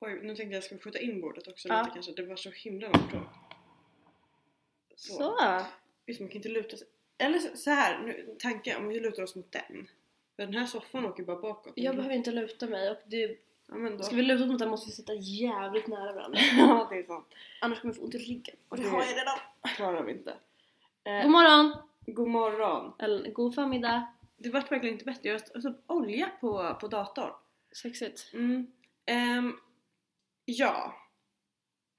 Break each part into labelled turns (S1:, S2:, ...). S1: Oj, nu tänkte jag ska skjuta in bordet också
S2: Ja.
S1: lite kanske. Det var så himla långt från. Så.
S2: Så.
S1: Just, man kan inte luta sig. Eller så, så här, nu, tanken om vi lutar oss mot den. För den här soffan åker bara bakåt.
S2: Jag behöver inte luta mig och du,
S1: Ja men då.
S2: ska vi luta mot den måste vi sitta jävligt nära varandra.
S1: ja det är sant.
S2: Annars kommer jag få ont i ryggen. Och det
S1: Det-
S2: har jag redan. Mm.
S1: Klarar vi inte. Eh,
S2: God morgon!
S1: god morgon.
S2: Eller god förmiddag.
S1: Det vart verkligen inte bättre. Jag har alltså, olja på, på datorn.
S2: Sexigt.
S1: Mm. Ehm, ja.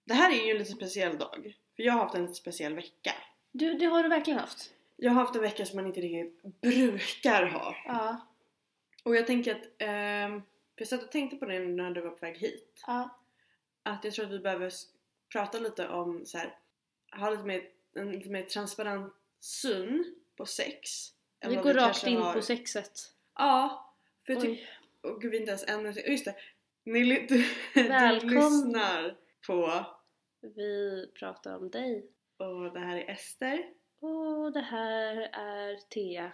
S1: Det här är ju en lite speciell dag. För jag har haft en lite speciell vecka.
S2: Du, det har du verkligen haft.
S1: Jag har haft en vecka som man inte riktigt brukar ha.
S2: Ja.
S1: Och jag tänker att, ehm, för jag satt och tänkte på det när du var på väg hit.
S2: Ja.
S1: Att jag tror att vi behöver s- prata lite om så här, ha lite mer, en lite mer transparent syn på sex. än
S2: Vi
S1: vad
S2: går rakt
S1: kanske
S2: in
S1: har.
S2: på sexet.
S1: Ja, för jag tycker
S2: Oj.
S1: Och gud, vi är inte ens en minut Just det! Ni, ly- du, du
S2: Välkomna.
S1: lyssnar på...
S2: Vi pratar om dig.
S1: Och det här är Ester.
S2: Och det här är Thea.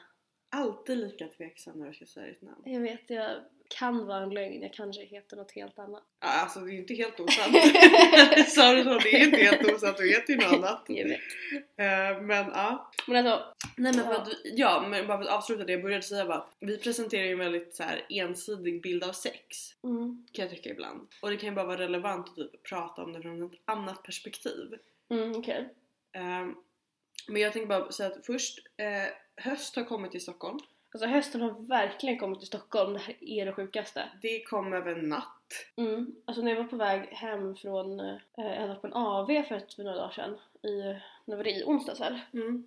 S1: Alltid lika tveksam när jag ska säga ditt namn.
S2: Jag vet, jag kan vara en lögn. Jag kanske heter något helt annat.
S1: Ja, alltså det är ju inte helt osant. Sa du så? Det är inte helt osant, du heter ju något annat.
S2: Jag vet.
S1: Eh, Men ja.
S2: Men alltså,
S1: Nej men
S2: för att
S1: ja, men bara för att avsluta det jag började säga bara. Vi presenterar ju en väldigt så här, ensidig bild av sex.
S2: mm.
S1: Kan jag tycka ibland. Och det kan ju bara vara relevant att typ, prata om det från ett annat perspektiv.
S2: Mm, okej.
S1: Ehm, men jag tänkte bara säga att först, eh, höst har kommit till Stockholm.
S2: Alltså hösten har verkligen kommit till Stockholm. Det här är det sjukaste.
S1: Det kom över en natt.
S2: Mm. Alltså när jag var på väg hem från, eh, jag var på en AV för, ett, för några dagar sedan. I, när var det? I onsdags väl?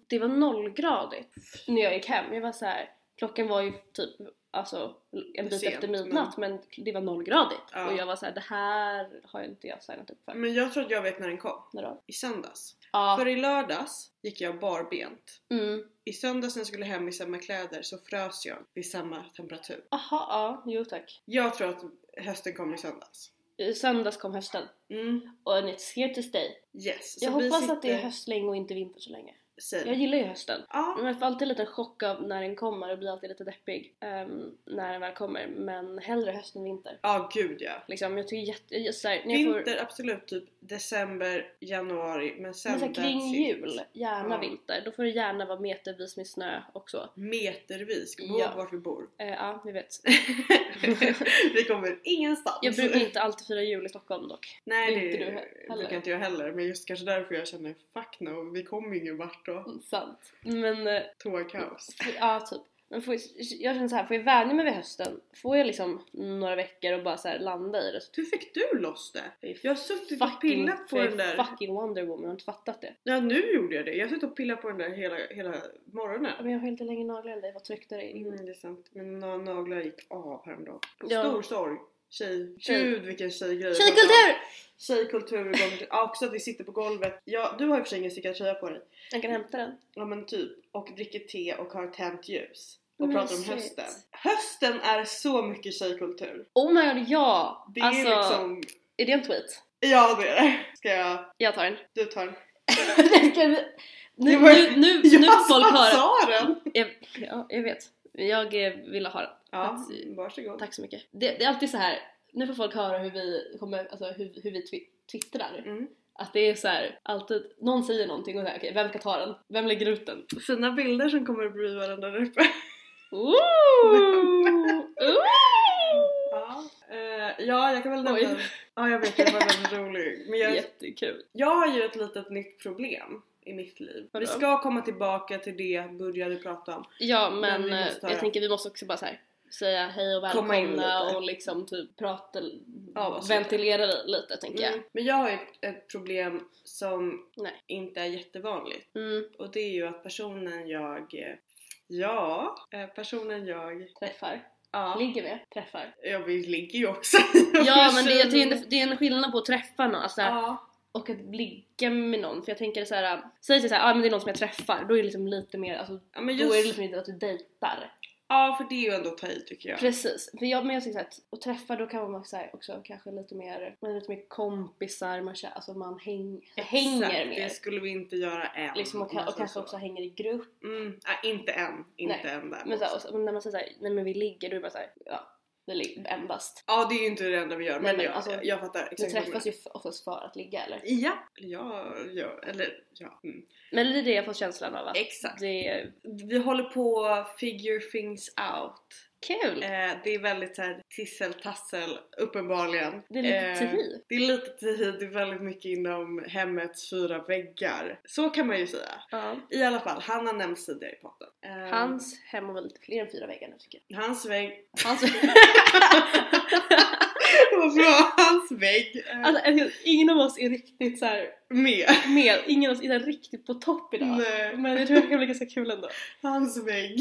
S2: Det var nollgradigt när jag gick hem. Jag var så här, klockan var ju typ alltså, en bit
S1: Sent,
S2: efter midnatt men det var nollgradigt.
S1: Ja. Mm.
S2: Och jag var så här, det här har jag inte jag signat upp för.
S1: Men jag tror att jag vet när den kom.
S2: När då?
S1: I söndags.
S2: Ja.
S1: För i lördags gick jag barbent.
S2: Mm.
S1: I söndags när jag skulle hem i samma kläder så frös jag vid samma temperatur.
S2: Aha, ja, jo tack.
S1: Jag tror att hösten kom i söndags.
S2: I söndags kom hösten
S1: Mm.
S2: och en it's here to stay.
S1: Yes. Så
S2: Jag
S1: vi
S2: hoppas
S1: sitter-
S2: att det är höst länge och inte vinter så länge.
S1: säg.
S2: Jag gillar Mm. ju hösten.
S1: Ja,
S2: Man får alltid en liten chock av när den kommer och blir alltid lite deppig ehm, när den väl kommer. Men hellre höst än vinter.
S1: ja gud ja.
S2: Liksom, jag tycker jätte... Jag, så här, när jag får,
S1: Vinter absolut, typ december, januari men sen
S2: men så här, Alltså, kring
S1: that's it.
S2: jul, gärna
S1: Ja.
S2: vinter. Då får det gärna vara metervis med snö också.
S1: Metervis, kom ihåg
S2: Ja.
S1: vart vi bor.
S2: Eh, ja, vi vet.
S1: vi kommer ingenstans.
S2: Jag brukar inte alltid fira jul i Stockholm dock.
S1: Nej
S2: det är
S1: det,
S2: inte du he- heller.
S1: brukar inte jag heller men just kanske därför jag känner fuck no, vi kommer ju ingen vart då.
S2: Sant. Men eh,
S1: Tågkaos.
S2: Ja, typ. Men får, jag känner så här, får jag vänja mig vid hösten? Får jag liksom några veckor och bara så här landa i det? Så
S1: Hur fick du loss det? Jag har suttit och pillat på
S2: jag
S1: den
S2: är
S1: där.
S2: fucking Wonder Woman, har inte fattat det.
S1: Ja nu gjorde jag det. Jag har suttit och pillat på den där hela, hela
S2: Ja,
S1: morgonen.
S2: Men jag har inte längre naglar än dig, vad tryckte det in?
S1: Mm, det är sant. Mina naglar gick av häromdagen.
S2: Ja.
S1: Stor sorg. Tjej.
S2: Tjej.
S1: Gud vilken tjejgrej.
S2: Tjejkultur!
S1: Tjejkultur. gånger- Ja, också att vi sitter på golvet. Ja, du har i och för sig ingen stickad tröja på dig.
S2: Jag kan hämta den.
S1: Ja men typ. Och dricker te och har tänt ljus. Och pratar om
S2: Mysigt.
S1: hösten. Hösten är så mycket tjejkultur.
S2: Oh my god, ja!
S1: Det
S2: alltså,
S1: är liksom...
S2: är det en tweet?
S1: Ja det är det. Ska jag...
S2: Jag tar den.
S1: Du tar den.
S2: Den kan vi- nu,
S1: Det var-
S2: nu, nu, nu
S1: jag
S2: får folk
S1: som
S2: höra.
S1: sa den!
S2: Jag, ja, jag vet. Jag eh, ville ha den.
S1: Ja,
S2: Att-
S1: varsågod.
S2: Tack så mycket. Det, det är alltid så här. nu får folk höra hur vi, kommer, alltså, hur, hur vi twi- twittrar.
S1: Mm.
S2: Att det är så här, alltid, någon säger någonting och säger okej, vem ska ta den? Vem lägger ut den?
S1: Fina bilder som kommer bredvid varandra där uppe.
S2: Ooh! Ooh!
S1: Ja, eh, ja jag kan väl
S2: Oj.
S1: nämna... Ja jag vet, det var väldigt rolig. Men jag,
S2: Jättekul.
S1: jag har ju ett litet nytt problem i mitt liv.
S2: Vadå?
S1: Vi ska komma tillbaka till det jag började prata om.
S2: Ja men,
S1: Men vi
S2: eh,
S1: måste höra.
S2: jag tänker vi måste också bara så här säga hej och
S1: Komma in lite.
S2: välkomna och liksom typ prata,
S1: Ja, vad så-
S2: ventilera det lite tänker
S1: Mm. Men jag har ju ett, ett problem som
S2: Nej.
S1: inte är jättevanligt.
S2: jag. Mm,
S1: Och det är ju att personen jag... eh, Ja, eh, personen jag...
S2: träffar.
S1: Ja,
S2: Ligger vi? Träffar.
S1: jag ligger ju också.
S2: Ja men det, jag tycker det- det är en skillnad på att träffa någon, alltså, så här,
S1: Ja.
S2: och att ligga med någon för jag tänker så här. säg till såhär, ah, men det är någon som jag träffar, då är det liksom lite mer, alltså,
S1: Ja, men
S2: då är det
S1: just,
S2: liksom inte att du dejtar.
S1: ja för det är ju ändå att ta i tycker jag.
S2: Precis, för jag, men jag tycker så här, att, att träffa då kan man så här, också kanske lite mer, man är lite mer kompisar, man, kä- alltså, man häng, hänger
S1: Exakt, Det
S2: mer.
S1: skulle vi inte göra än.
S2: Liksom, och,
S1: om jag
S2: ka- och
S1: säger
S2: kanske
S1: så.
S2: också hänger i grupp.
S1: Mm, nej, inte än. Inte
S2: Nej,
S1: än där.
S2: Men, så här, och så, men när man säger såhär, nej men vi ligger, då är det bara såhär, ja. vi ligger endast.
S1: Ja det är ju inte det enda vi gör men,
S2: Nej, men
S1: jag,
S2: alltså,
S1: jag fattar
S2: Vi
S1: Mm. exakt vad du menar.
S2: träffas ju f- oftast för att ligga eller?
S1: Ja, eller jag, jag, eller ja. Mm.
S2: Men det är det jag får känslan av att
S1: Exakt.
S2: det är
S1: Vi håller på figure things out.
S2: kul!
S1: Eh, det är väldigt såhär tisseltassel uppenbarligen.
S2: Det är lite
S1: Eh,
S2: tihi.
S1: Det är lite tihi, det är väldigt mycket inom hemmets fyra väggar. Så kan man ju säga.
S2: Ja.
S1: I alla fall, han har nämnts tidigare i podden. Eh,
S2: Hans hem var väl lite fler än fyra väggar nu tycker jag.
S1: Hans vägg.
S2: Hans...
S1: Vad bra! Hans vägg. Eh,
S2: alltså, jag- ingen av oss är riktigt så här
S1: med.
S2: med, ingen av oss är så här riktigt på topp idag.
S1: Nej,
S2: Men jag tror det kan bli ganska kul ändå.
S1: Eh, hans vägg.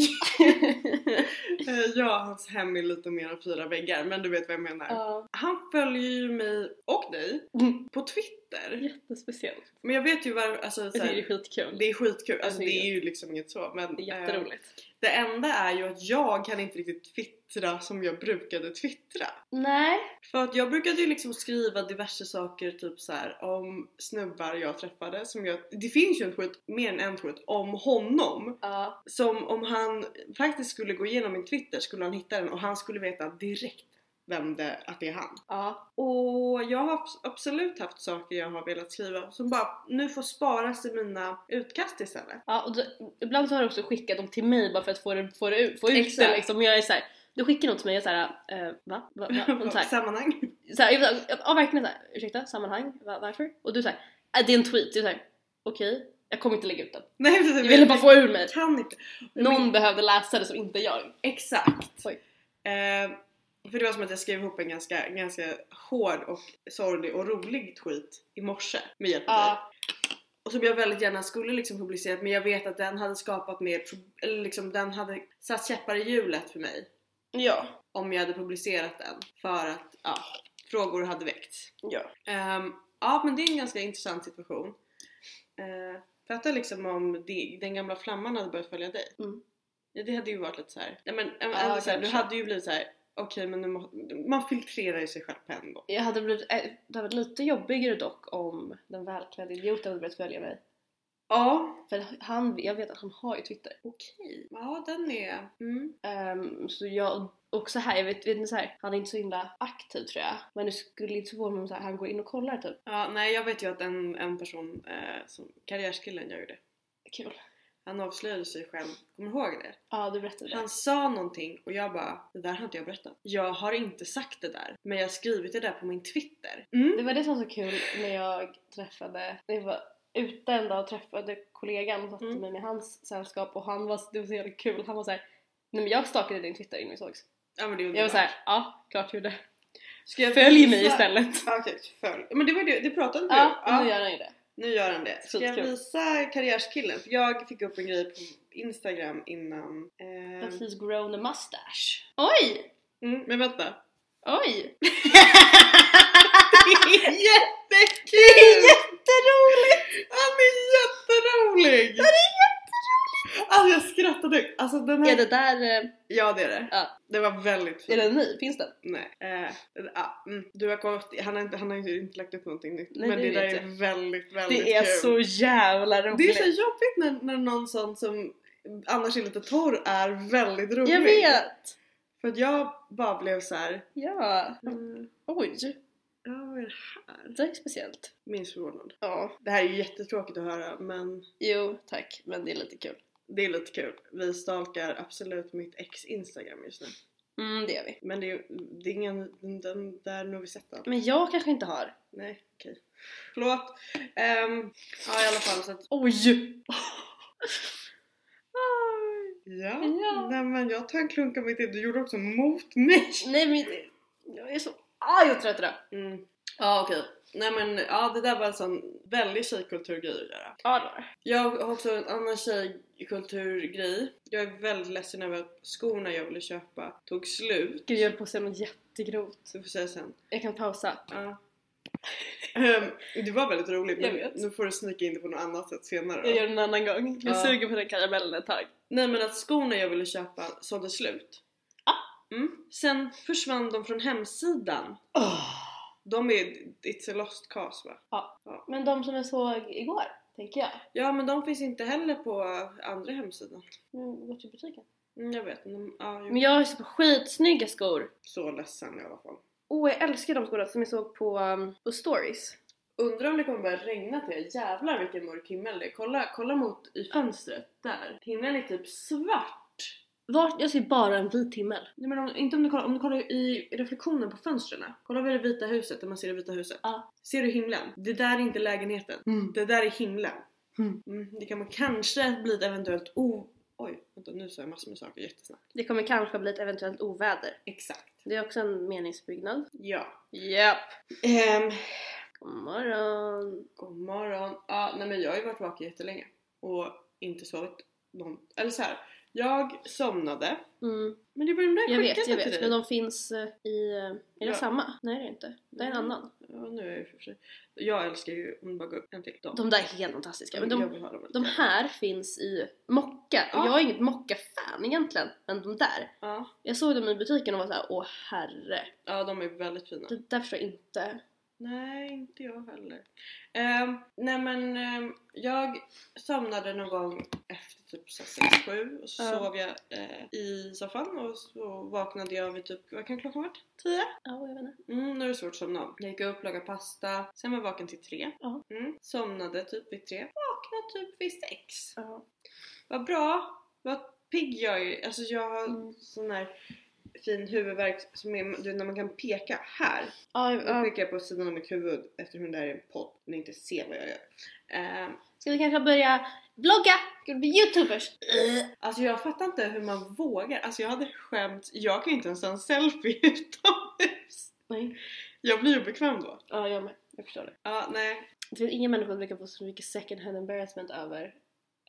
S1: Eh, ja, hans hem är lite mer än fyra väggar men du vet vad jag menar.
S2: Ja, Mm.
S1: Han följer ju mig och dig på Twitter.
S2: jättespeciellt.
S1: Men jag vet ju varför, alltså
S2: Jag
S1: såhär,
S2: tycker det är skitkul.
S1: det är skitkul, alltså,
S2: Jag
S1: det
S2: tycker
S1: är ju liksom inget så men
S2: Det är
S1: eh,
S2: jätteroligt.
S1: det enda är ju att jag kan inte riktigt twittra som jag brukade twittra.
S2: Nej,
S1: För att jag brukade ju liksom skriva diverse saker typ så här om snubbar jag träffade som jag, det finns ju en tweet, mer än en tweet, om honom
S2: ja.
S1: Som om han faktiskt skulle gå igenom min Twitter skulle han hitta den och han skulle veta direkt vem det, att det är han.
S2: ja.
S1: Och jag har abs- absolut haft saker jag har velat skriva som bara nu får sparas i mina utkast istället.
S2: ja och då, ibland så har du också skickat dem till mig bara för att få, det, få, det, ut- få ut
S1: Exakt.
S2: det liksom. Men jag är såhär, du skickar något till mig och såhär, eh, va? va, va? Så här,
S1: Sammanhang.
S2: så här, jag, var så här, ja verkligen såhär, ursäkta, sammanhang, va, varför? Och du såhär, äh, det är en tweet, du såhär, okej, jag kommer inte lägga ut den.
S1: Nej precis.
S2: Jag ville bara få ur mig.
S1: Kan inte.
S2: Någon
S1: Men-
S2: behövde läsa det som inte jag.
S1: Exakt.
S2: Oj.
S1: Eh, för det var som att jag skrev ihop en ganska, ganska hård och sorglig och rolig tweet i morse med hjälp av dig.
S2: Ja,
S1: och som jag väldigt gärna skulle liksom publicerat men jag vet att den hade skapat mer pro- eller liksom den hade satt käppar i hjulet för mig
S2: ja,
S1: om jag hade publicerat den för att ja, frågor hade väckts.
S2: ja.
S1: Ehm, ja men det är en ganska intressant situation. Uh, Fatta liksom om det, den gamla flamman hade börjat följa dig.
S2: Mm.
S1: Ja, det hade ju varit lite såhär, nej men ändå
S2: Ja,
S1: så här, du
S2: kanske.
S1: hade ju blivit såhär okej men nu må, man filtrerar ju sig själv på en gång.
S2: Jag hade blivit, eh, det hade varit lite jobbigare dock om den välklädda idioten hade börjat följa mig.
S1: Ja
S2: För han, jag vet att han har ju Twitter.
S1: okej, ja den är... Mm.
S2: Ehm, så jag, och så här, jag vet, vet ni så här, han är inte så himla aktiv tror jag. Men det skulle inte förvåna mig om så här, han går in och kollar typ.
S1: Ja, nej jag vet ju att en, en person, eh, som, karriärskillen gör ju det.
S2: Kul.
S1: Han avslöjade sig själv, kommer du ihåg det?
S2: Ja, du berättade det.
S1: Han sa någonting och jag bara, det där har inte jag berättat. Jag har inte sagt det där, men jag har skrivit det där på min Twitter. Mm.
S2: Det var det som var så kul när jag träffade, när jag var ute en dag och träffade kollegan och satte
S1: Mm.
S2: mig med hans sällskap och han var, det var så jävla kul, han var såhär Nej men jag stalkade din Twitter innan vi sågs.
S1: Ja men det är
S2: Jag var
S1: underbart.
S2: såhär, ja klart gjorde.
S1: Ska jag
S2: Följ
S1: visa-
S2: mig istället.
S1: Ja, Okej, följ. Men det var det, det pratade du
S2: Ja,
S1: om.
S2: nu gör han ju det.
S1: nu gör han det. Ska jag
S2: Skitkul.
S1: visa karriärskillen? För jag fick upp en grej på Instagram innan.
S2: But
S1: Eh,
S2: he's grown a mustache. Oj!
S1: mm, men vänta.
S2: Oj!
S1: Det är jättekul! jätteroligt! Han är jätterolig! Ja, det är jätteroligt! Alltså jag skrattade. Alltså den här...
S2: Är det där, eh,
S1: Ja det är det.
S2: Ja.
S1: Det var väldigt
S2: är
S1: fint.
S2: den ny? Finns den?
S1: Nej. Eh, ja, mm. Du har kollat, han har, inte, han har ju inte lagt upp någonting nytt.
S2: Nej,
S1: men
S2: det
S1: det, där
S2: vet
S1: är
S2: jag.
S1: väldigt, väldigt
S2: Det är
S1: kul.
S2: så jävla
S1: Det är
S2: roligt!
S1: så jobbigt när, när någon sån som annars är lite torr är väldigt rolig.
S2: jag vet!
S1: För att jag bara blev så här.
S2: Ja,
S1: Mm,
S2: oj!
S1: ja vad är det här?
S2: Det är speciellt.
S1: Minst förvånad.
S2: Ja,
S1: Det här är ju jättetråkigt att höra men
S2: jo tack, men det är lite kul.
S1: Det är lite kul. Vi stalkar absolut mitt ex Instagram just nu.
S2: Mm, det gör vi.
S1: Men det är, ju- det är ingen, den- den där nu har vi sett den.
S2: Men jag kanske inte har.
S1: Nej, okej. Förlåt. Ehm, ja i alla fall så att,
S2: Oj!
S1: ja.
S2: Ja.
S1: Nej men jag tar en klunk av mitt te. Du gjorde också mot mig.
S2: Nej men det- jag är så arg och trött idag.
S1: Mm. Ja okej. Nej men ja det där var en sån väldigt tjejkulturgrej att göra.
S2: Ja det var det.
S1: Jag har också en annan tjejkulturgrej. Jag är väldigt ledsen över att skorna jag ville köpa tog slut.
S2: Gud jag höll på att säga något jättegrovt.
S1: Så vi får säga sen.
S2: Jag kan pausa.
S1: Ja. Ehm, det var väldigt roligt
S2: Jag
S1: men
S2: vet.
S1: nu får du snika in det på något annat sätt senare då.
S2: Jag gör det en annan gång. Jag
S1: Ja.
S2: suger på den karamellen ett tag.
S1: Nej men att skorna jag ville köpa sålde slut.
S2: Ah.
S1: Mm. Sen försvann de från hemsidan. De är, it's a lost cause va?
S2: Men de som jag såg igår, tänker jag.
S1: Ja men de finns inte heller på andra hemsidan.
S2: Nu går till butiken.
S1: Mm, jag vet. Mm, Ja, jo.
S2: Men jag har ju så skitsnygga skor.
S1: Så ledsen i alla fall.
S2: Åh, jag älskar de skorna som jag såg på um, på stories.
S1: Undrar om det kommer börja regna till er. Jävlar vilken mörk himmel det är. Kolla, kolla mot i fönstret där. Himlen är typ svart.
S2: Vart, jag ser bara en vit himmel.
S1: Nej, men om, inte om du kollar, om du kollar i reflektionen på fönstren. Kolla vid det vita huset, där man ser det vita huset.
S2: Ja.
S1: Ser du himlen? Det där är inte lägenheten.
S2: Mm.
S1: Det där är himlen.
S2: Mm.
S1: Mm, det kan man kanske bli ett eventuellt o... Oj, vänta nu sa jag massor med saker jättesnabbt.
S2: Det kommer kanske bli ett eventuellt oväder.
S1: Exakt.
S2: Det är också en meningsbyggnad.
S1: Ja.
S2: Japp.
S1: Ehm,
S2: God morgon.
S1: god morgon. Ja, nej men jag har ju varit vaken jättelänge. Och inte sovit någon... Eller så här. Jag somnade.
S2: Mm.
S1: Men det var den där
S2: Jag vet,
S1: skickade
S2: jag
S1: till
S2: vet.
S1: dig.
S2: Men de finns eh, i... eh, Är det
S1: Ja.
S2: samma? Nej det är det inte. Det är en
S1: Mm.
S2: annan.
S1: Ja, nu är jag ju för sig. Jag älskar ju om det bara går upp en till. Dem.
S2: De där är helt fantastiska. Men
S1: jag
S2: de,
S1: vill ha dem
S2: de här finns i mocka. Och
S1: Ja.
S2: jag är inget mocka-fan egentligen. Men de där.
S1: Ja.
S2: Jag såg dem i butiken och var såhär, åh herre.
S1: ja, de är väldigt fina.
S2: Det där förstår jag inte.
S1: Nej, inte jag heller. Ehm, nej men ehm, jag somnade någon gång efter typ 6-7 och så
S2: Ja.
S1: sov jag eh, i soffan och så vaknade jag vid typ, vad kan klockan vara? 10?
S2: Ja, jag vet inte.
S1: Mm, nu är det svårt att somna om. Jag gick upp, lagade pasta, sen var jag vaken till 3.
S2: Ja.
S1: Mm, somnade typ vid 3, vaknade typ vid 6.
S2: Ja.
S1: Vad bra! Vad pigg jag är! Alltså jag har
S2: Mm.
S1: sån här fin huvudvärk som är, du vet när man kan peka här.
S2: Ja,
S1: Nu
S2: ja.
S1: pekar jag på sidan av mitt huvud eftersom det här är en podd och ni inte ser vad jag gör. Eh,
S2: Ska vi kanske börja vlogga? Ska vi bli youtubers?
S1: alltså jag fattar inte hur man vågar. Alltså jag hade skämt, jag kan ju inte ens ta en selfie utomhus.
S2: Nej.
S1: Jag blir ju obekväm då.
S2: Ja, jag med. Jag förstår det.
S1: Ja, nej.
S2: Det finns ingen människa som brukar få så mycket second hand embarrassment över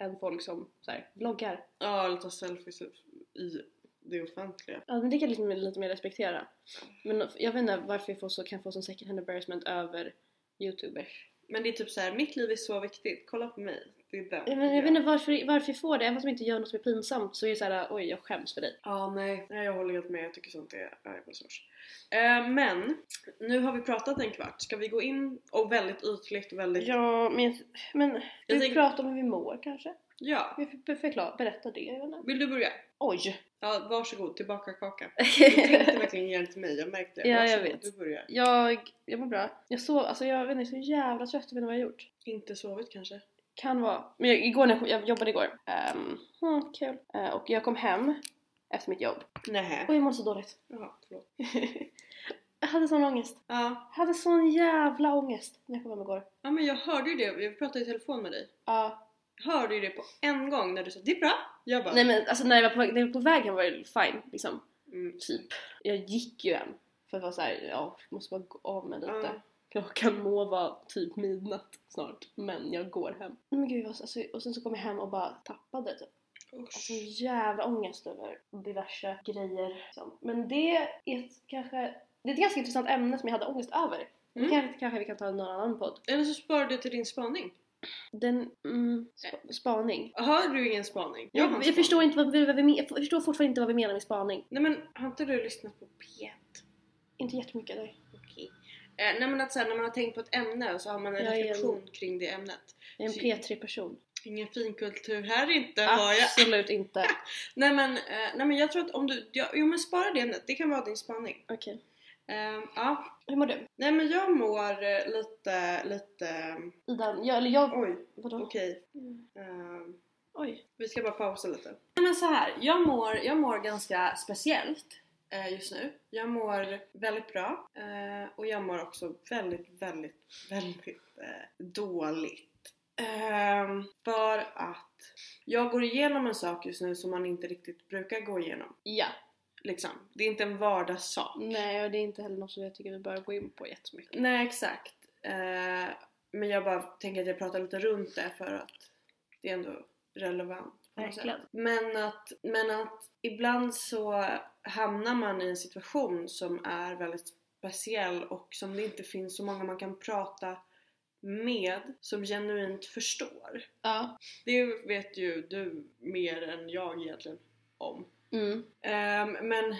S2: än folk som så här, vloggar.
S1: Ja, eller ta selfies typ i det offentliga.
S2: Ja, men det kan jag liksom lite mer respektera. Men jag vet inte varför jag får så, kan få sån second hand embarrassment över youtubers.
S1: Men det är typ så här: mitt liv är så viktigt, kolla på mig. Det är den.
S2: Men jag vet inte varför, varför jag får det, även fast de inte gör något som är pinsamt så är det så här, oj jag skäms för dig.
S1: Ja, nej. nej. Jag håller helt med. Jag tycker sånt är arvsårs. Eh, men, nu har vi pratat en kvart. Ska vi gå in och väldigt ytligt, väldigt...
S2: Ja, men, men
S1: Jag
S2: vi
S1: tänker-
S2: pratar om hur vi mår kanske?
S1: Ja.
S2: Vi får förklara, berätta det, jag vet inte.
S1: Vill du börja?
S2: Oj!
S1: Ja, varsågod. Tillbaka kaka. Du tänkte verkligen ge den till mig. Jag märkte det.
S2: Ja, jag
S1: Varsågod,
S2: vet.
S1: Du börjar.
S2: jag, jag mår bra. Jag sov, alltså jag vet inte, jag är så jävla trött, jag vet inte vad jag har gjort.
S1: Inte sovit kanske?
S2: Kan vara. Men jag, igår när jag, kom- jag jobbade igår. Um, mm, kul. Eh, och jag kom hem efter mitt jobb.
S1: Nej.
S2: Och jag mådde så dåligt.
S1: Jaha, förlåt.
S2: jag hade sån ångest.
S1: Ja.
S2: Jag hade sån jävla ångest när jag kom hem igår.
S1: ja, men jag hörde ju det. Jag pratade i telefon med dig.
S2: Ja.
S1: Jag hörde ju det på en gång när du sa det är bra. Jag bara...
S2: Nej men alltså när jag var på, väg- när jag var på vägen var det fine liksom.
S1: Mm.
S2: Typ. Jag gick ju hem. För att vara såhär, ja, jag måste bara gå av mig lite.
S1: Ja.
S2: Klockan må vara typ midnatt snart. Men jag går hem. Men gud, jag var så- alltså, och sen så kom jag hem och bara tappade typ. Alltså
S1: Usch.
S2: jävla ångest över diverse grejer. Liksom. Men det är ett, kanske det är ett ganska intressant ämne som jag hade ångest över. Det
S1: Mm.
S2: kanske, kanske vi kan ta i någon annan podd.
S1: Eller så sparar du till din spaning.
S2: Den, mm, sp- spaning.
S1: Har du ingen spaning? har en
S2: Jag,
S1: spaning.
S2: jag, förstår inte vad vi, vad vi, men- jag förstår fortfarande inte vad vi menar med spaning.
S1: Nej men har inte du lyssnat på P1?
S2: Inte jättemycket. Nej.
S1: Okej. Eh, nej men att så här, när man har tänkt på ett ämne och så har man en
S2: Jag är en-
S1: reflektion kring det ämnet.
S2: Jag är en
S1: Så-
S2: P3-person.
S1: Ingen finkultur här inte
S2: Ah.
S1: har jag.
S2: Absolut inte.
S1: Nej men, eh, nej men jag tror att om du, ja, jo men spara det ämnet, det kan vara din spaning.
S2: Okej.
S1: Eh, ja.
S2: Hur mår du?
S1: Nej men jag mår eh, lite, lite,
S2: Ida? Jag, eller jag...
S1: oj
S2: Vadå?
S1: okej.
S2: Mm.
S1: Eh,
S2: Oj.
S1: vi ska bara pausa lite. Nej men så här, jag mår, jag mår ganska speciellt eh, just nu. Jag mår väldigt bra eh, och jag mår också väldigt, väldigt, väldigt eh, dåligt. Ehm, för att jag går igenom en sak just nu som man inte riktigt brukar gå igenom.
S2: Ja.
S1: Liksom. Det är inte en vardagssak.
S2: Nej, och det är inte heller något som jag tycker vi bör gå in på jättemycket.
S1: Nej exakt. Eh, men jag bara tänker att jag pratar lite runt det för att det är ändå relevant. på något sätt.
S2: Verkligen.
S1: Men att, men att ibland så hamnar man i en situation som är väldigt speciell och som det inte finns så många man kan prata med som genuint förstår.
S2: Ja.
S1: Det vet ju du mer än jag egentligen om.
S2: Mm.
S1: Ehm, men,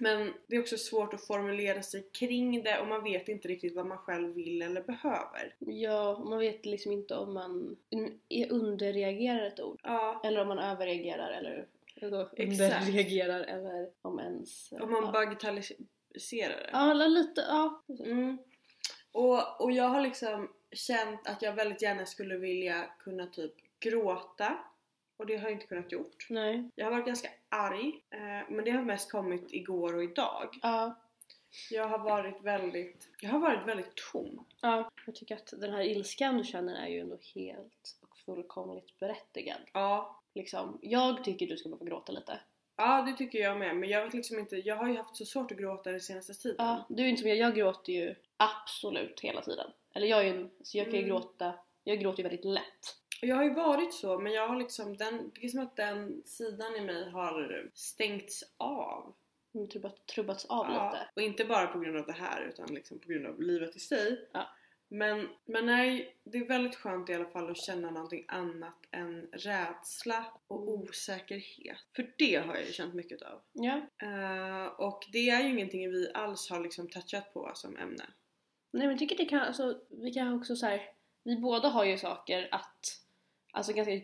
S1: men det är också svårt att formulera sig kring det och man vet inte riktigt vad man själv vill eller behöver.
S2: Ja, och man vet liksom inte om man mm, är underreagerar ett ord.
S1: Ja,
S2: Eller om man överreagerar eller då, om
S1: Exakt.
S2: den reagerar eller om ens...
S1: Om man
S2: ja.
S1: bagatelliserar det.
S2: Ja, eller lite, ja.
S1: Mm. Och, och jag har liksom känt att jag väldigt gärna skulle vilja kunna typ gråta och det har jag inte kunnat gjort.
S2: Nej.
S1: Jag har varit ganska arg eh, men det har mest kommit igår och idag.
S2: Ja.
S1: Jag har varit väldigt, jag har varit väldigt tom.
S2: ja. Jag tycker att den här ilskan du känner är ju ändå helt och fullkomligt berättigad.
S1: Ja,
S2: Liksom, jag tycker du ska behöva gråta lite.
S1: ja det tycker jag med men jag vet liksom inte, jag har ju haft så svårt att gråta den senaste tiden.
S2: Ja, du är inte som jag, jag gråter ju absolut hela tiden. Eller jag är ju en, så jag kan ju
S1: Mm.
S2: gråta, jag gråter ju väldigt lätt.
S1: Och Jag har ju varit så men jag har liksom den, det är som att den sidan i mig har stängts av.
S2: Mm, Trubbat, trubbats av lite.
S1: Och inte bara på grund av det här utan liksom på grund av livet i sig.
S2: Ja.
S1: Men, men nej, det är väldigt skönt i alla fall att känna någonting annat än rädsla och osäkerhet. För det har jag ju känt mycket av.
S2: Ja.
S1: Eh, och det är ju ingenting vi alls har liksom touchat på som ämne.
S2: Nej men jag tycker det kan, alltså, vi kan också så här, vi båda har ju saker att, alltså ganska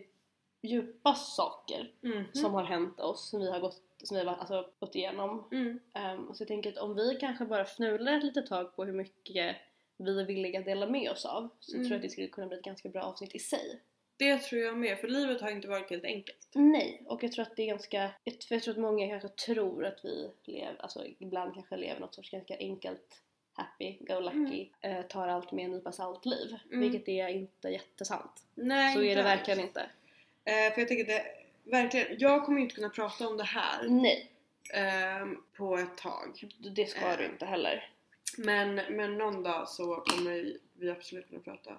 S2: djupa saker
S1: Mhm.
S2: som har hänt oss, som vi har gått, som vi har alltså, gått igenom.
S1: Mm.
S2: Ehm, så jag tänker att om vi kanske bara fnular ett litet tag på hur mycket vi är villiga att dela med oss av så
S1: Mm.
S2: tror jag att det skulle kunna bli ett ganska bra avsnitt i sig.
S1: Det tror jag med, för livet har inte varit helt enkelt.
S2: Nej, och jag tror att det är ganska, jag tror- jag tror att många kanske tror att vi lever, alltså ibland kanske lever något sorts ganska enkelt happy, go lucky, eh, tar allt med en nypa salt liv.
S1: Mm.
S2: Vilket är inte jättesant.
S1: Nej,
S2: så är
S1: inte
S2: det
S1: alls.
S2: verkligen inte.
S1: Eh, för jag tänker det, verkligen, jag kommer ju inte kunna prata om det här
S2: Nej,
S1: ehm, på ett tag.
S2: det ska du
S1: Eh.
S2: inte heller.
S1: Men, men någon dag så kommer vi absolut kunna prata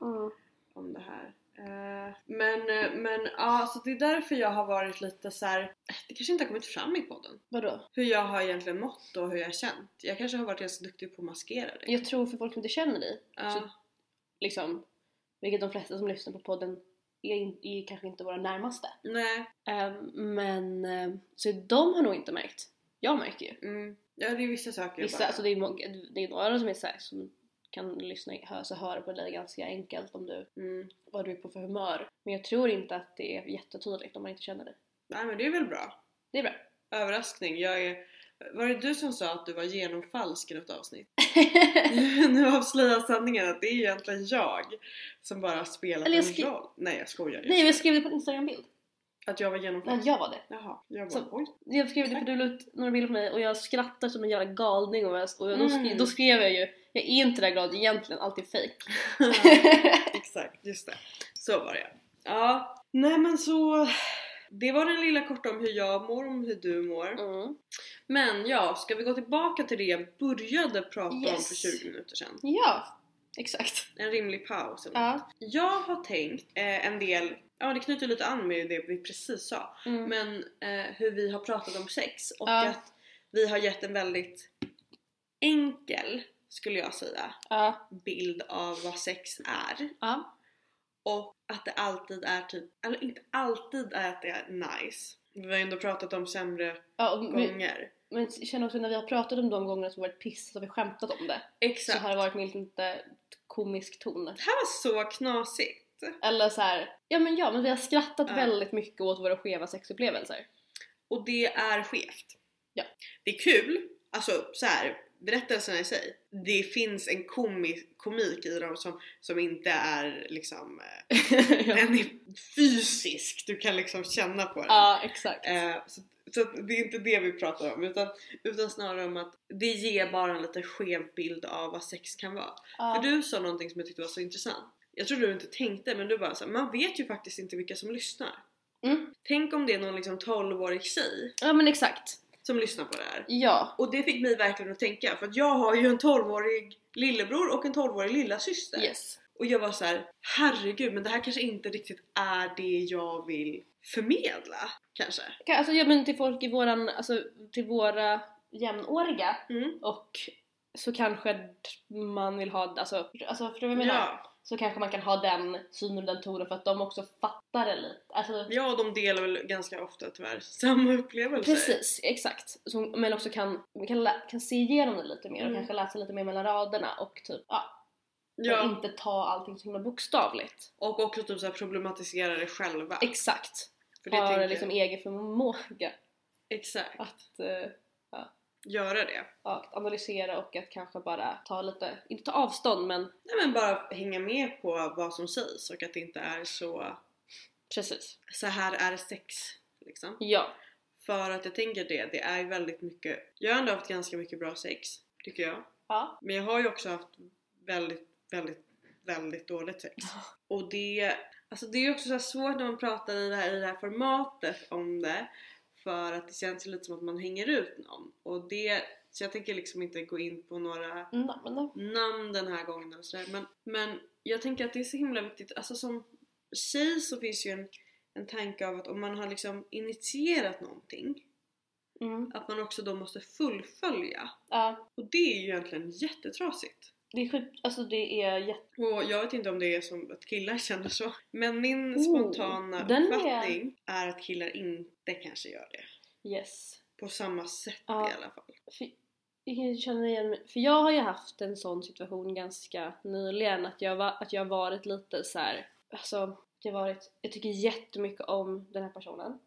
S1: om det här. Eh, Men, eh, men ja, så det är därför jag har varit lite så här. eh, det kanske inte har kommit fram i podden.
S2: Vadå?
S1: Hur jag har egentligen mått och hur jag har känt. Jag kanske har varit ganska duktig på att maskera det.
S2: Jag tror för folk som inte känner dig,
S1: Ja.
S2: så- liksom, vilket de flesta som lyssnar på podden är, in, är kanske inte våra närmaste.
S1: Nej,
S2: Ehm, men, ehm, så de har nog inte märkt. Jag märker ju.
S1: mm. ja det är vissa saker
S2: Vissa,
S1: bara.
S2: alltså det är, många- det är några som är såhär som kan lyssna, hö, så höra på dig ganska enkelt om du,
S1: mm.
S2: vad du är på för humör. Men jag tror inte att det är jättetydligt om man inte känner dig.
S1: Nej men det är väl bra.
S2: Det är bra.
S1: Överraskning, jag är... Var det du som sa att du var genomfalsk i något avsnitt? nu avslöjar sanningen att det är egentligen jag som bara har spelat
S2: Eller jag
S1: en
S2: skri-
S1: roll. Nej jag skojar. Jag
S2: Nej men jag
S1: skojar.
S2: skrev det på en instagrambild.
S1: Att jag var
S2: Nej
S1: genomfalsk.
S2: jag var det.
S1: Jaha, jag bara
S2: Så-
S1: oj.
S2: Jag skrev det för du la ut några bilder på mig och jag skrattar som en jävla galning och, jag, och då, skrev,
S1: Mm.
S2: då skrev jag ju Jag är inte där glad egentligen, allt är fejk.
S1: Exakt, just det. Så var det ja. Nej men så... Det var den lilla korta om hur jag mår och om hur du mår.
S2: mm.
S1: Men ja, ska vi gå tillbaka till det jag började prata om
S2: Yes.
S1: för 20 minuter sedan?
S2: Ja, exakt.
S1: En rimlig paus. eller något.
S2: Ja.
S1: Jag har tänkt eh, en del, ja det knyter lite an med det vi precis sa,
S2: Mm.
S1: men eh, hur vi har pratat om sex och
S2: Ja.
S1: att vi har gett en väldigt enkel, skulle jag säga,
S2: Ja.
S1: bild av vad sex är.
S2: Ja.
S1: Och att det alltid är typ, eller inte alltid är att det är nice. Vi har ju ändå pratat om sämre
S2: ja och, men,
S1: gånger.
S2: men jag känner också när vi har pratat om de gångerna som varit piss så har vi skämtat om det. Så
S1: Exakt.
S2: har det varit med lite komisk ton.
S1: Det här var så knasigt.
S2: Eller så här, ja men ja men vi har skrattat
S1: Ja.
S2: väldigt mycket åt våra skeva sexupplevelser.
S1: Och det är skevt.
S2: Ja.
S1: Det är kul, alltså så här. berättelserna i sig. Det finns en komi- komik i dem som, som inte är liksom, eh,
S2: ja.
S1: den är fysisk. Du kan liksom känna på den.
S2: ja, exakt.
S1: Eh, så så att det är inte det vi pratar om utan, utan snarare om att det ger bara en lite skev bild av vad sex kan vara.
S2: ja.
S1: För du sa någonting som jag tyckte var så intressant. Jag tror du inte tänkte men du bara så här, man vet ju faktiskt inte vilka som lyssnar.
S2: Mm.
S1: Tänk om det är någon liksom 12-årig tjej
S2: ja men exakt.
S1: som lyssnar på det här.
S2: Ja.
S1: Och det fick mig verkligen att tänka för att jag har ju en 12-årig lillebror och en 12-årig lillasyster.
S2: Yes.
S1: Och jag var så här, herregud men det här kanske inte riktigt är det jag vill förmedla kanske.
S2: Kan- Alltså ja men till folk i våran, alltså till våra jämnåriga
S1: Mm.
S2: och så kanske man vill ha, alltså, alltså förstår du vad jag menar?
S1: Ja.
S2: så kanske man kan ha den synen och den tonen för att de också fattar det lite. Alltså,
S1: Ja, de delar väl ganska ofta tyvärr samma upplevelser.
S2: precis, exakt. Så, men också kan, kan, lä- kan se igenom det lite mer och
S1: Mm.
S2: kanske läsa lite mer mellan raderna och typ ja, och
S1: Ja,
S2: inte ta allting så himla bokstavligt.
S1: och också typ så här problematisera det själva.
S2: Exakt.
S1: För det
S2: Har
S1: tänker
S2: liksom egen förmåga
S1: Exakt.
S2: Att, eh,
S1: Göra det.
S2: ja, att analysera och att kanske bara ta lite, inte ta avstånd men
S1: Nej men bara hänga med på vad som sägs och att det inte är så
S2: precis.
S1: så här är sex liksom.
S2: Ja.
S1: För att jag tänker det, det är ju väldigt mycket, jag har ändå haft ganska mycket bra sex tycker jag.
S2: Ja.
S1: Men jag har ju också haft väldigt, väldigt, väldigt dåligt sex. Och det, alltså det är ju också så här svårt när man pratar i det, här, i det här formatet om det för att det känns ju lite som att man hänger ut någon. Och det, så jag tänker liksom inte gå in på några
S2: Mm, Nej, men nej.
S1: namn den här gången eller sådär. Men, men jag tänker att det är så himla viktigt, alltså som tjej så finns ju en, en tanke av att om man har liksom initierat någonting
S2: Mm.
S1: att man också då måste fullfölja.
S2: Ja.
S1: Och det är ju egentligen jättetrasigt.
S2: Det är skit, alltså det är jätte...
S1: Och jag vet inte om det är som att killar känner så. Men min
S2: Oh,
S1: spontana
S2: den är-
S1: uppfattning är... att killar inte kanske gör det.
S2: Yes.
S1: På samma sätt
S2: Ja.
S1: i alla fall.
S2: För, jag känner igen mig. För jag har ju haft en sån situation ganska nyligen att jag, var, att jag varit lite så här. alltså jag har varit, jag tycker jättemycket om den här personen.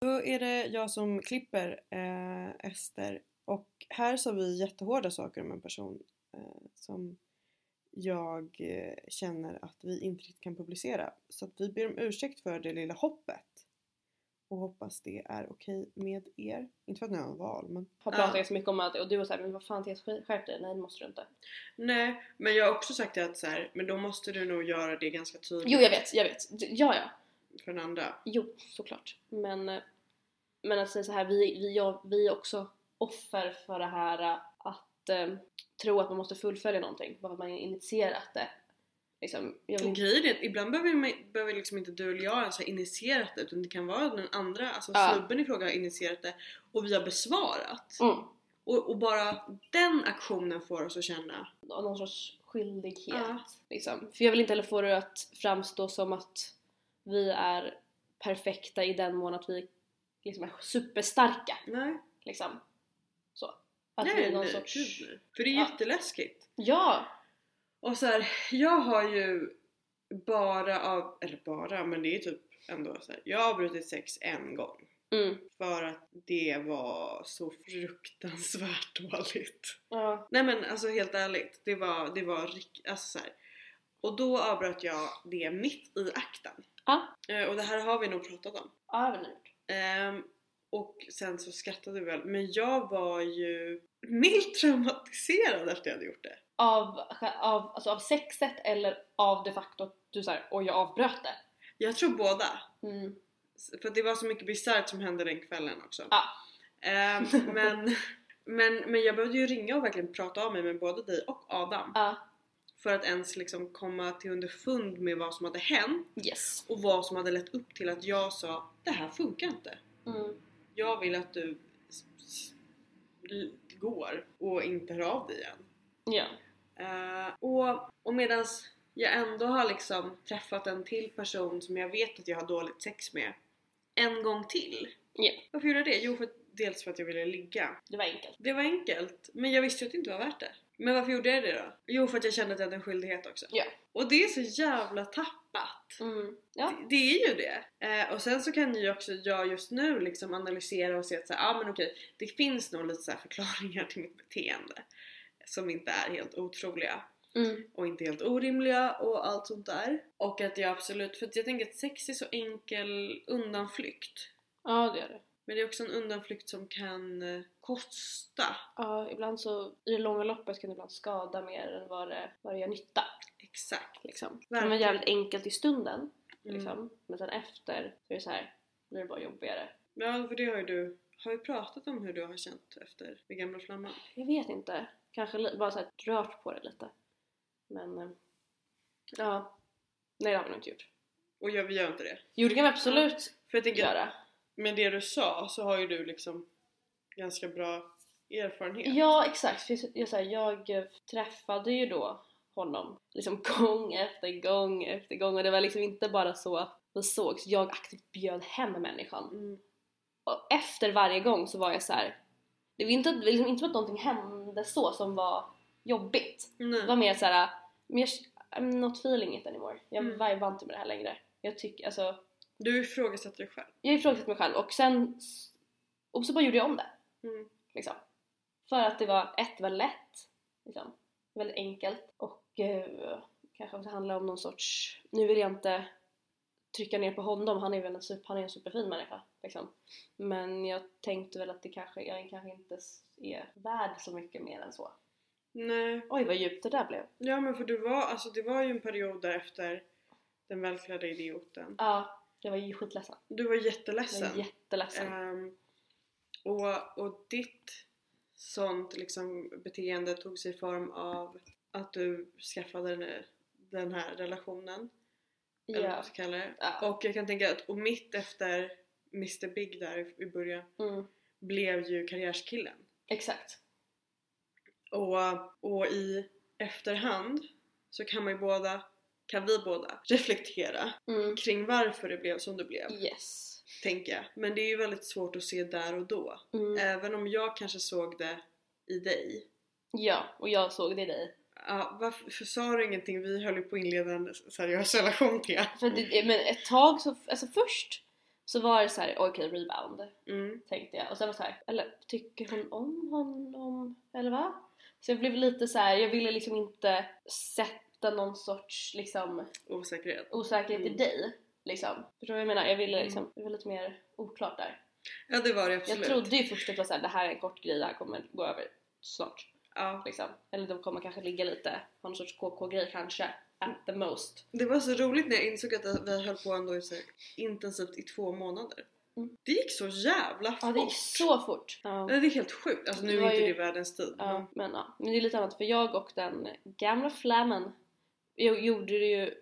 S1: Då är det jag som klipper eh, Ester och här sa vi jättehårda saker om en person eh, som jag eh, känner att vi inte riktigt kan publicera. Så att vi ber om ursäkt för det lilla hoppet och hoppas det är okej med er. Inte för att ni har en val men...
S2: Har
S1: Ja.
S2: pratat ganska mycket om allt det och du var såhär men vad fan Therese skär- skärp dig, nej det måste du inte.
S1: Nej, men jag har också sagt att så men då måste du nog göra det ganska tydligt
S2: Jo jag vet, jag vet. D- Ja ja,
S1: för den andra.
S2: jo såklart. Men, eh, men att säga så här, vi, vi, jag, vi är också offer för det här eh, att eh, tro att man måste fullfölja någonting bara för att man har initierat det. Liksom, jag vill
S1: Och
S2: inte,
S1: grejen är att ibland behöver, man, behöver liksom inte du eller jag ens ha initierat det utan det kan vara den andra, alltså
S2: Ja.
S1: snubben i fråga har initierat det och vi har besvarat.
S2: mm.
S1: Och, och bara den aktionen får oss att känna
S2: av någon sorts skyldighet.
S1: Ja.
S2: Liksom. För jag vill inte heller få det att framstå som att vi är perfekta i den mån att vi liksom är superstarka.
S1: Nej,
S2: Liksom. Så. Att vi
S1: nej,
S2: är någon
S1: nej,
S2: sorts...
S1: gud, nej. För det är
S2: Ja.
S1: jätteläskigt.
S2: Ja!
S1: Och så här, jag har ju bara av, eller bara, men det är typ ändå så här, jag har brutit sex en gång.
S2: Mm.
S1: För att det var så fruktansvärt dåligt.
S2: Ja.
S1: Nej men alltså helt ärligt, det var, det var rikt, alltså så här. Och då avbröt jag det mitt i akten.
S2: Ja.
S1: Eh, Och det här har vi nog pratat om.
S2: Ja, det är väl lurt.
S1: Ehm, och sen så skrattade vi väl, men jag var ju milt traumatiserad efter jag hade gjort det.
S2: Av, av, alltså av sexet eller av det facto att du såhär oj jag avbröt det.
S1: Jag tror båda.
S2: Mm.
S1: För att det var så mycket bisarrt som hände den kvällen också.
S2: Ja.
S1: Ehm, men, men, men jag behövde ju ringa och verkligen prata av mig med både dig och Adam.
S2: Ja.
S1: För att ens liksom komma till underfund med vad som hade hänt
S2: Yes.
S1: och vad som hade lett upp till att jag sa det här funkar inte.
S2: Mm.
S1: Jag vill att du s- s- l- går och inte hör av dig igen.
S2: Ja.
S1: Eh, och och medan jag ändå har liksom träffat en till person som jag vet att jag har dåligt sex med en gång till.
S2: Ja.
S1: Varför gjorde jag det? Jo, för, dels för att jag ville ligga.
S2: Det var enkelt.
S1: Det var enkelt, men jag visste ju att det inte var värt det. Men varför gjorde jag det då? Jo, för att jag kände att jag hade en skyldighet också.
S2: Ja.
S1: Och det är så jävla tappat.
S2: Mm. Ja.
S1: Det är ju det. Eh, och sen så kan ju också jag just nu liksom analysera och se att så här, ah, men okej, det finns nog lite så här förklaringar till mitt beteende som inte är helt otroliga
S2: Mm.
S1: och inte helt orimliga och allt sånt där. Och att jag absolut, för att jag tänker att sex är så enkel undanflykt.
S2: Ja det gör det.
S1: Men det är också en undanflykt som kan eh, kosta.
S2: Ja, ibland så i det långa loppet kan det ibland skada mer än vad det, vad det gör nytta.
S1: Exakt.
S2: Liksom. Det
S1: Verkligen.
S2: var jävligt enkelt i stunden,
S1: Mm.
S2: liksom. men sen efter så är det så här, blir det bara jobbigare.
S1: Ja, för det har ju du. Har vi pratat om hur du har känt efter den gamla flamman?
S2: Jag vet inte, kanske li- bara så här, rört på det lite. Men eh, ja, nej det har vi nog inte gjort.
S1: Och jag, vi gör inte det.
S2: Jo det kan vi absolut
S1: För jag tänker att
S2: göra.
S1: med det du sa så har ju du liksom ganska bra erfarenhet.
S2: Ja exakt, för jag, jag, så här, jag eh, träffade ju då honom liksom gång efter gång efter gång och det var liksom inte bara så att vi sågs, jag aktivt bjöd hem människan.
S1: Mm.
S2: och efter varje gång så var jag så här. Det var inte, att- liksom, inte att någonting hände så som var jobbigt. Det var
S1: Nej.
S2: mer så här, men jag, I'm not feeling it anymore. Jag
S1: Mm.
S2: vibar inte med det här längre. Jag tycker, alltså,
S1: Du ifrågasätter dig själv.
S2: jag ifrågasätter mig själv och sen s- Och så bara gjorde jag om det.
S1: Mm.
S2: Liksom. För att det var, ett, det var lätt. Liksom. Väldigt enkelt. Och eh, kanske också handlar om någon sorts, nu vill jag inte trycka ner på honom, han är väl en, super, han är en superfin människa. Liksom. Men jag tänkte väl att det kanske, jag kanske inte s- är värd så mycket mer än så.
S1: Nej.
S2: Oj vad djupt det där blev.
S1: Ja men för det var, alltså, det var ju en period där efter den välklädda idioten.
S2: Ja, jag var ju skitledsen.
S1: Du var
S2: Jag var
S1: jätteledsen.
S2: jätteledsen.
S1: Ehm, och, och ditt sånt liksom beteende tog sig form av att du skaffade den, den här relationen. Eller vad
S2: Ja.
S1: man ska kalla det.
S2: Ja.
S1: Och jag kan tänka att och mitt efter Mr Big där i- i början
S2: Mm,
S1: blev ju karriärskillen.
S2: exakt.
S1: Och, och i efterhand så kan man ju båda, kan vi båda reflektera
S2: Mm.
S1: kring varför det blev som det blev,
S2: Yes.
S1: tänker jag. Men det är ju väldigt svårt att se där och då.
S2: Mm.
S1: Även om jag kanske såg det i dig.
S2: Ja, och jag såg det i dig.
S1: Ja, varför sa du ingenting? Vi höll ju på att inleda en seriös relation till er.
S2: För det, men ett tag så, alltså först så var det så här, okej rebound
S1: Mm.
S2: tänkte jag och sen var det så här, eller tycker hon om honom eller va? Så jag blev lite så här, jag ville liksom inte sätta någon sorts liksom
S1: Osäkerhet.
S2: osäkerhet
S1: Mm.
S2: i dig liksom. Förstår du vad jag menar? Jag ville liksom, det var lite mer oklart där.
S1: Ja det var det absolut.
S2: Jag trodde ju först att det var så här, det här är en kort grej, det här kommer gå över snart
S1: Ja.
S2: liksom. Eller de kommer kanske ligga lite, ha någon sorts KK-grej kanske at the most.
S1: Det var så roligt när jag insåg att vi höll på ändå i så här intensivt i två månader.
S2: Mm.
S1: Det gick så jävla
S2: Ja det gick
S1: fort.
S2: så fort! Mm. Ja.
S1: Ja, det är helt sjukt. Alltså nu
S2: Det
S1: är
S2: var
S1: inte
S2: ju-
S1: det världens tid.
S2: Ja, men ja. Men det är lite annat för jag och den gamla flammen jag gjorde det ju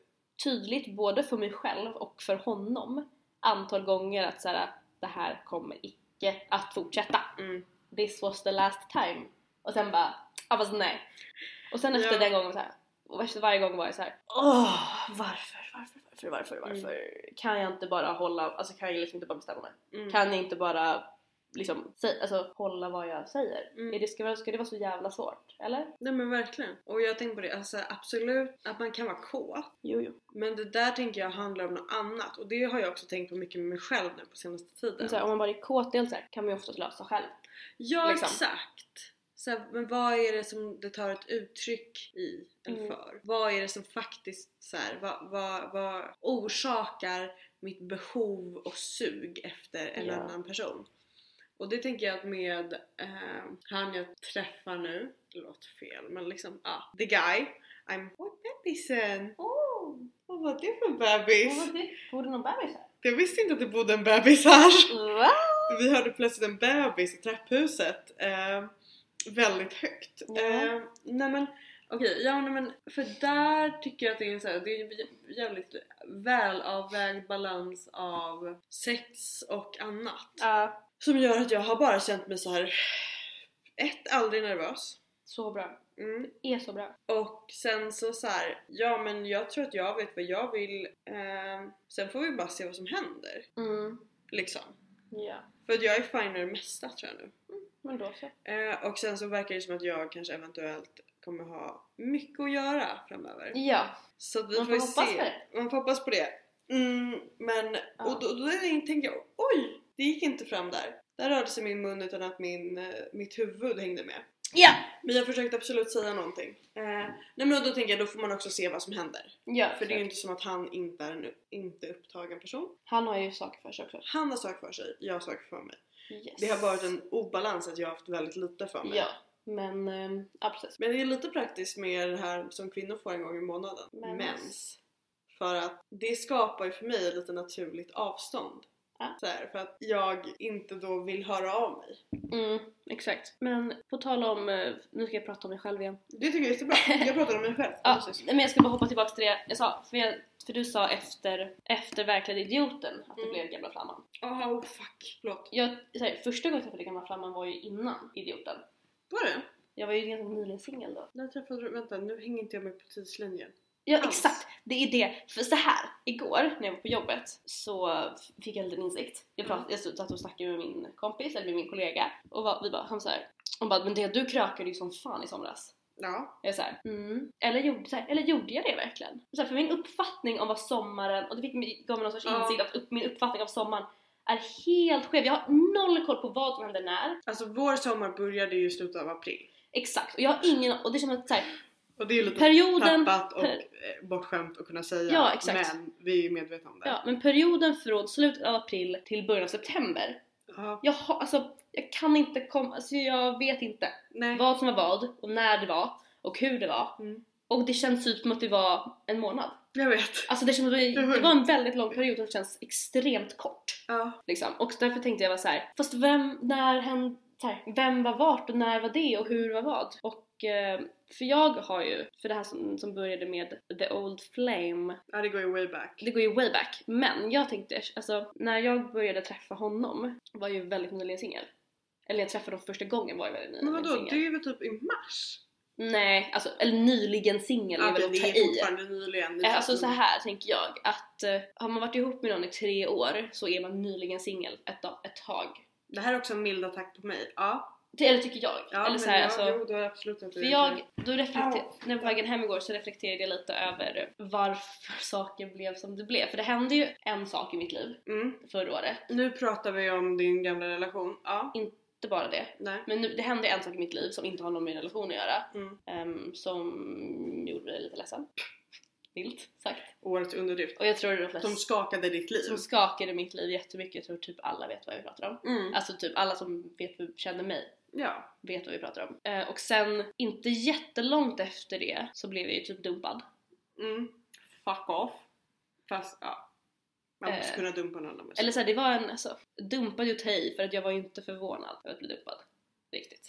S2: tydligt både för mig själv och för honom antal gånger att så här, det här kommer icke att fortsätta.
S1: Mm.
S2: This was the last time. Och sen bara, ja fast nej. Och sen efter
S1: Ja.
S2: den gången så här, och efter varje gång var jag så här, åh varför, varför, varför, varför, varför kan jag inte bara hålla, alltså kan jag liksom inte bara bestämma mig?
S1: Mm.
S2: Kan jag inte bara liksom, sä- alltså, hålla vad jag säger?
S1: Mm.
S2: Är det, ska, ska det vara så jävla svårt? Eller?
S1: Nej men verkligen. Och jag tänkte på det, alltså absolut att man kan vara kåt.
S2: Jo, jo.
S1: Men det där tänker jag handlar om något annat. Och det har jag också tänkt på mycket med mig själv nu på senaste tiden.
S2: Men Så här, om man bara är kåt dels så här, kan man ju oftast lösa själv.
S1: Ja
S2: Liksom.
S1: exakt! Så här, men vad är det som det tar ett uttryck i eller
S2: Mm.
S1: för? Vad är det som faktiskt så här, vad, vad, vad orsakar mitt behov och sug efter en
S2: Ja.
S1: annan person? Och det tänker jag att med eh, han jag träffar nu, det låter fel men liksom ja, the guy. I'm, oj bebisen!
S2: Oh,
S1: Vad var det för bebis?
S2: vad det? Bor det någon bebis här?
S1: Jag visste inte att det bodde en bebis här!
S2: Va?
S1: Vi hörde plötsligt en bebis i trapphuset. Eh, väldigt högt.
S2: Ja.
S1: Eh, nej men okej, ja nej men för där tycker jag att det är så här, det är ju jä- jävligt välavvägd balans av sex och annat.
S2: Ja,
S1: Som gör att jag har bara känt mig så här. ett, aldrig nervös.
S2: så bra.
S1: Mm.
S2: Är så bra.
S1: Och sen så så här, ja men jag tror att jag vet vad jag vill. Eh, sen får vi bara se vad som händer.
S2: Mm.
S1: Liksom.
S2: Ja,
S1: För att jag är fine med det mesta tror jag nu.
S2: men då så.
S1: Eh, och sen så verkar det som att jag kanske eventuellt kommer ha mycket att göra framöver.
S2: Ja,
S1: Så att vi
S2: Man
S1: får, ju
S2: får hoppas
S1: se.
S2: på det.
S1: Man får hoppas på det. Mm, men
S2: Ja.
S1: och då, då är det- tänker jag oj, det gick inte fram där. Där rörde sig min mun utan att min, eh, mitt huvud hängde med.
S2: Ja!
S1: Men jag försökte absolut säga någonting. Eh, nej men då tänker jag då får man också se vad som händer.
S2: ja
S1: För det är ju
S2: klart.
S1: inte som att han inte är en u- inte upptagen person.
S2: Han har ju saker för sig också.
S1: Han har saker för sig, jag har saker för mig.
S2: Yes.
S1: Det har varit en obalans att jag har haft väldigt lite för mig.
S2: Ja, men ehm, ja precis.
S1: Men det är lite praktiskt med det här som kvinnor får en gång i månaden. Mens.
S2: Mens.
S1: För att det skapar ju för mig lite naturligt avstånd.
S2: Ja.
S1: Så här, för att jag inte då vill höra av mig.
S2: Mm, exakt. Men på tal om, eh, nu ska jag prata om mig själv igen.
S1: Det tycker jag är jättebra. Jag pratar om mig själv.
S2: Ja, men jag ska bara hoppa tillbaka till det jag sa. För, jag, för du sa efter, efter verkligen idioten att det
S1: Mm.
S2: blev gamla flamman.
S1: Åh, oh, fuck. Förlåt.
S2: Jag, så här, första gången jag träffade gamla flamman var ju innan idioten.
S1: Var det?
S2: Jag var ju ganska nyligen singel då.
S1: När träffade du... Vänta, nu hänger inte jag med på tidslinjen.
S2: Ja
S1: Alls.
S2: exakt, det är det. För så här, igår när jag var på jobbet så f- fick jag en liten insikt. Jag, pratade, jag satt och snackade med min kompis, eller med min kollega, och var, vi bara, han såhär, hon bara men det du krökade ju som fan i somras.
S1: Ja.
S2: Jag är såhär, mm. eller, gjorde, så här, eller gjorde jag det verkligen? Så här, för min uppfattning om vad sommaren, och det fick, mig- gav mig någon sorts
S1: Ja.
S2: insikt, att upp, min uppfattning av sommaren är helt skev. Jag har noll koll på vad som händer när.
S1: Alltså vår sommar började ju i slutet av april.
S2: Exakt. Och jag har ingen och det känns att så här,
S1: Och det är ju lite
S2: Perioden-
S1: tappat och
S2: per-
S1: eh, bortskämt att kunna säga.
S2: Ja, exakt.
S1: Men vi är ju medvetna om det.
S2: ja, men perioden från slutet av april till början av september.
S1: Ja,
S2: Jag har, alltså, jag kan inte komma, alltså jag vet inte
S1: nej.
S2: vad som var vad och när det var och hur det var.
S1: Mm.
S2: Och det känns typ som att det var en månad.
S1: Jag vet.
S2: Alltså det, känns, det var en väldigt lång period som känns extremt kort.
S1: Ja.
S2: Liksom. Och därför tänkte jag vara så här, fast vem, när hände, så här, vem var vart och när var det och hur var vad? Och eh, för jag har ju, för det här som, som började med the old flame,
S1: ja, det går ju way back.
S2: det går ju way back, men jag tänkte, alltså när jag började träffa honom var ju väldigt nyligen singel. Eller jag träffade honom första gången var jag väldigt
S1: Men
S2: nyligen
S1: vadå, det
S2: singel.
S1: är väl typ i mars?
S2: Nej, alltså eller nyligen singel är väl att ta
S1: det är typ
S2: i.
S1: fortfarande nyligen.
S2: Eh, Alltså så här tänker jag att eh, har man varit ihop med någon i tre år så är man nyligen singel ett, dag- ett tag.
S1: Det här är också en mild attack på mig. Ja,
S2: Det, eller tycker jag.
S1: ja
S2: eller
S1: men
S2: så här,
S1: ja,
S2: alltså,
S1: jo, du har absolut inte
S2: för jag, då reflekter, när jag var på vägen hem igår så reflekterade jag lite över varför saker blev som det blev. För det hände ju en sak i mitt liv
S1: Mm.
S2: förra året.
S1: Nu pratar vi om din gamla relation. Ja,
S2: Inte bara det.
S1: nej.
S2: Men nu, det hände en sak i mitt liv som inte har någon med min relation att göra.
S1: Mm.
S2: ehm, som gjorde mig lite ledsen. Vilt sagt.
S1: Årets underdrift.
S2: Och jag tror de flesta
S1: Som skakade ditt liv.
S2: som skakade mitt liv jättemycket. Jag tror typ alla vet vad vi pratar om.
S1: Mm.
S2: Alltså typ alla som vet, känner mig
S1: Ja.
S2: vet vad vi pratar om. Eh, och sen, inte jättelångt efter det, så blev jag ju typ dumpad.
S1: Mm. Fuck off. Fast ja. Man måste
S2: Eh.
S1: kunna dumpa någon annan.
S2: Eller såhär, det var en, alltså, dumpad ju i för att jag var ju inte förvånad över att bli dumpad. Riktigt.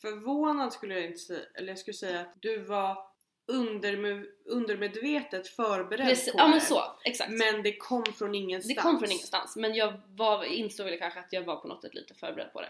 S1: Förvånad skulle jag inte säga. Eller jag skulle säga att du var underme- undermedvetet förberedd
S2: Precis,
S1: på
S2: ja
S1: det.
S2: men så, exakt.
S1: Men det kom från ingenstans.
S2: det kom från ingenstans, men jag var, insåg väl kanske att jag var på något sätt lite förberedd på det.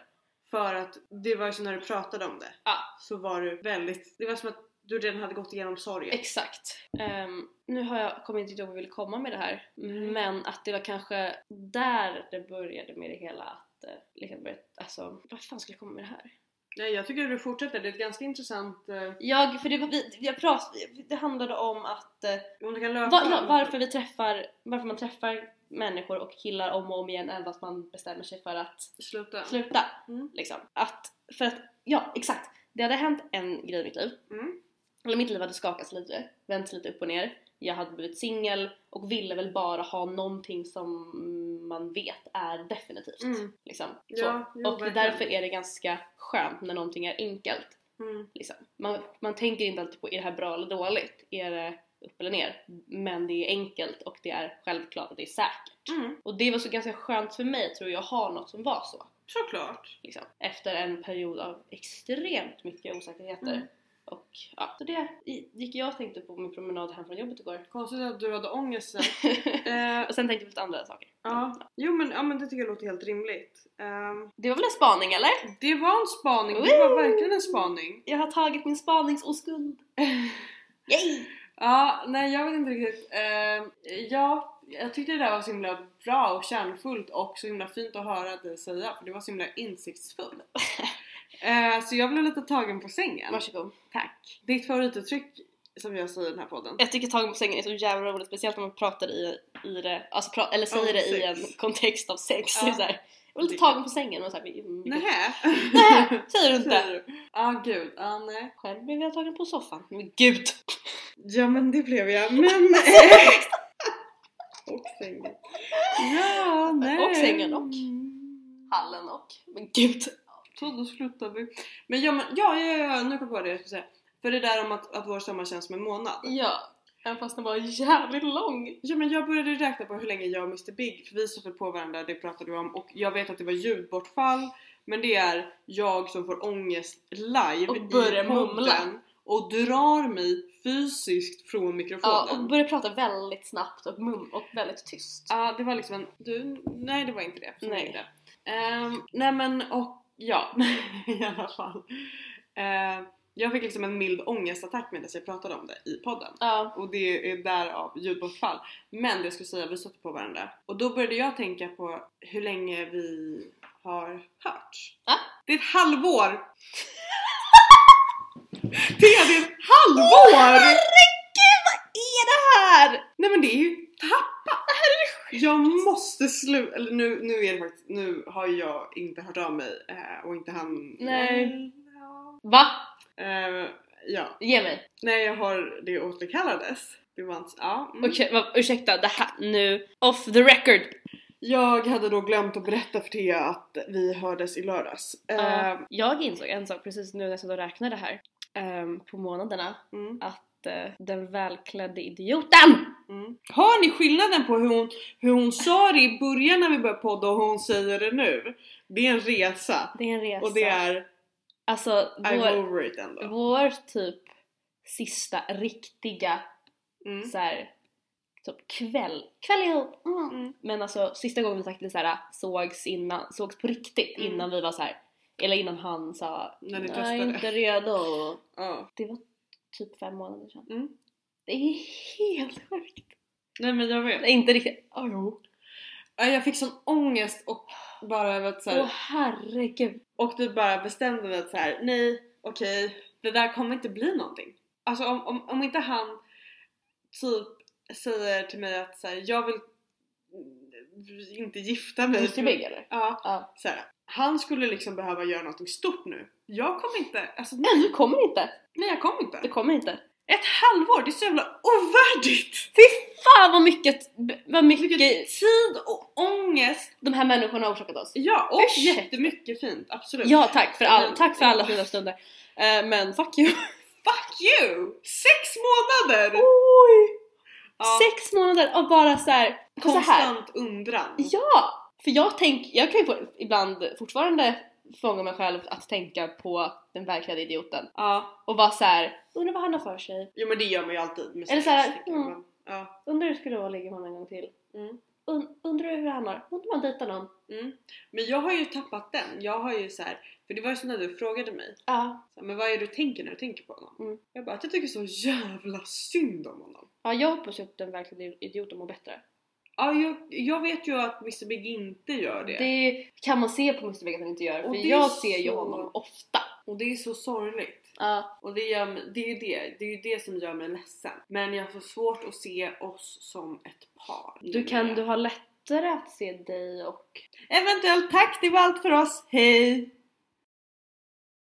S1: För att det var ju så när du pratade om det.
S2: Ja.
S1: Så var du väldigt... Det var som att du redan hade gått igenom sorgen.
S2: Exakt. Ehm, nu har jag, kommer jag inte ihåg vad jag ville komma med det här,
S1: Mm.
S2: men att det var kanske där det började med det hela att eh, liksom börja, alltså, vad fan skulle jag komma med det här?
S1: Nej jag tycker att du fortsätter. Det är ett ganska intressant... Eh,
S2: Jag, för det, var- vi, jag prat, det handlade om att eh,
S1: om du kan lösa
S2: va, ja, varför vi träffar, varför man träffar människor och killar om och om igen även fast man bestämmer sig för att
S1: Sluta.
S2: sluta.
S1: Mm.
S2: Liksom. Att, för att, ja exakt. Det hade hänt en grej i mitt liv.
S1: Mm.
S2: Eller mitt liv hade skakats lite, vänts lite upp och ner. Jag hade blivit singel och ville väl bara ha någonting som man vet är definitivt.
S1: Mm.
S2: Liksom. Så.
S1: Ja, jo,
S2: och
S1: verkligen.
S2: därför är det ganska skönt när någonting är enkelt.
S1: Mm.
S2: Liksom. Man, man tänker inte alltid på är det här bra eller dåligt? Är det upp eller ner? Men det är enkelt och det är självklart och det är säkert.
S1: Mm.
S2: Och det var så ganska skönt för mig tror jag, att ha något som var så.
S1: Såklart.
S2: Liksom. Efter en period av extremt mycket osäkerheter.
S1: Mm.
S2: Och ja, så det i- gick jag och tänkte på min promenad hem från jobbet igår.
S1: Konstigt att du hade ångest sen. eh,
S2: och sen tänkte jag på lite andra saker.
S1: ja. Jo men, ja, men det tycker jag låter helt rimligt. Ehm,
S2: Det var väl en spaning eller?
S1: det var en spaning. Det var
S2: Woo!
S1: verkligen en spaning.
S2: Jag har tagit min spaningsoskuld. Yay!
S1: Ja, nej jag vet inte riktigt. Ehm, ja, jag tyckte det där var så himla bra och kärnfullt och så himla fint att höra dig säga för det var så himla insiktsfullt. Eh, så jag blev lite tagen på sängen.
S2: Varsågod.
S1: Tack. Ditt favorituttryck som jag säger i den här podden.
S2: Jag tycker tagen på sängen är så jävla roligt, speciellt när man pratar i, i det, alltså pra, eller säger
S1: Om
S2: det i
S1: sex.
S2: en kontext av sex.
S1: Ja.
S2: Det är så här, jag var lite tagen på sängen och såhär, mm,
S1: Nähä?
S2: Nähä, säger du
S1: Säger
S2: inte?
S1: du? Ja, gud. Ja, nej.
S2: Själv blev jag tagen på soffan. Men gud!
S1: Ja men det blev jag, men... och sängen. Ja, nej.
S2: Och sängen och.
S1: Mm.
S2: Hallen och, men gud!
S1: Så då slutar vi. Men ja, men, ja, ja, ja nu kom jag på det jag skulle säga. För det där om att, att vår sommar känns som en månad.
S2: Ja, även fast den var jävligt lång.
S1: Ja men jag började räkna på hur länge jag och Mr Big, för vi stötte på varandra, det pratade vi om och jag vet att det var ljudbortfall men det är jag som får ångest live
S2: Och börjar
S1: i podden
S2: mumla.
S1: och drar mig fysiskt från mikrofonen.
S2: Ja, och började prata väldigt snabbt och mum och väldigt tyst.
S1: Ja, det var liksom en... Du, nej det var inte det. som
S2: Nej.
S1: ringde. Ehm, nej men och ja, i alla fall. Ehm, jag fick liksom en mild ångestattack medan jag pratade om det i podden.
S2: Ja,
S1: Och det är därav ljudbortfall. Men det jag skulle säga, vi stötte på varandra. Och då började jag tänka på hur länge vi har hörts.
S2: Ja.
S1: Det är ett halvår! det är ett halvår!
S2: herregud vad är det här?
S1: Nej men det är ju tappat! Det här är det Jag måste sluta, eller nu, nu är det faktiskt, nu har jag inte hört av mig eh, och inte han.
S2: Nej. Va?
S1: Eh, ja.
S2: Ge mig!
S1: Nej jag har, det återkallades. Det var inte, ja. mm.
S2: Okej, va, ursäkta det här nu, off the record!
S1: Jag hade då glömt att berätta för Thea att vi hördes i lördags. Eh,
S2: Eh, jag insåg en sak precis nu när jag satt och räknade här ehm, på månaderna
S1: mm,
S2: att eh, den välklädde idioten!
S1: mm. Hör ni skillnaden på hur hon, hur hon sa det i början när vi började podda och hur hon säger det nu? Det är en resa.
S2: Det är en resa.
S1: Och det är
S2: alltså
S1: I'm
S2: vår,
S1: over it ändå.
S2: vår typ sista riktiga
S1: Mm.
S2: så här, typ kväll, kväll ihop! Mm.
S1: Mm.
S2: Men alltså sista gången vi faktiskt så här, sågs, innan, sågs på riktigt
S1: Mm.
S2: innan vi var så här. eller innan han sa
S1: När ni
S2: "Nej,
S1: testade."
S2: inte redo.
S1: Ja.
S2: Det var typ fem månader sedan.
S1: Mm.
S2: Det är helt sjukt!
S1: Nej men jag vet.
S2: Nej, inte riktigt.
S1: Ja, jo. Ja, Jag fick sån ångest och bara över att så
S2: Åh
S1: här,
S2: herregud.
S1: och du bara bestämde mig att så här, nej okej det där kommer inte bli någonting. Alltså om, om, om inte han typ säger till mig att så här, jag vill mm, inte gifta mig.
S2: Mr Big eller?
S1: Ja,
S2: Ja.
S1: så här, han skulle liksom behöva göra något stort nu. Jag kommer inte, alltså nej,
S2: Nej du kommer inte.
S1: nej jag kommer inte.
S2: Du kommer inte.
S1: Ett halvår, det är så jävla ovärdigt!
S2: Fan vad mycket, vad mycket
S1: Tid och ångest.
S2: de här människorna har orsakat oss.
S1: Ja, och
S2: Ursäkta.
S1: jättemycket fint, absolut.
S2: Ja tack för, all,
S1: Men-
S2: tack för alla fina stunder. Eh, men fuck you.
S1: Fuck you! Sex månader!
S2: Oj!
S1: Ja,
S2: Sex månader av bara så här. och Alltså så här.
S1: konstant undran.
S2: Ja! För jag tänk, jag kan ju få, ibland fortfarande fånga mig själv att tänka på den verkliga idioten
S1: Ja,
S2: och vara så här. undrar vad han har för sig,
S1: jo men det gör man ju alltid med
S2: Eller
S1: sex,
S2: så här,
S1: tänker jag,
S2: mm.
S1: men, ja.
S2: undrar hur det skulle vara att ligga med honom en gång till,
S1: Mm.
S2: Un, undrar hur han har, undrar om han dejtar någon?
S1: Mm. Men jag har ju tappat den. Jag har ju så här, för det var ju så när du frågade mig.
S2: Ja.
S1: Så här, men vad är det du tänker när du tänker på honom?
S2: Mm.
S1: Jag bara att jag tycker så jävla synd om honom.
S2: Ja, jag hoppas ju att den verkliga idioten mår bättre.
S1: Ja, jag, jag vet ju att Mr Big inte gör det.
S2: Det kan man se på Mr. Big att han inte gör,
S1: Och
S2: för
S1: det är
S2: jag ser ju
S1: så-
S2: honom ofta.
S1: Och det är så sorgligt.
S2: Ja.
S1: Och det, gör, mig- det är ju det. Det är ju det som gör mig ledsen. Men jag har så svårt att se oss som ett par.
S2: Du kan du ha lättare att se dig och
S1: Eventuellt tack, det var allt för oss. Hej!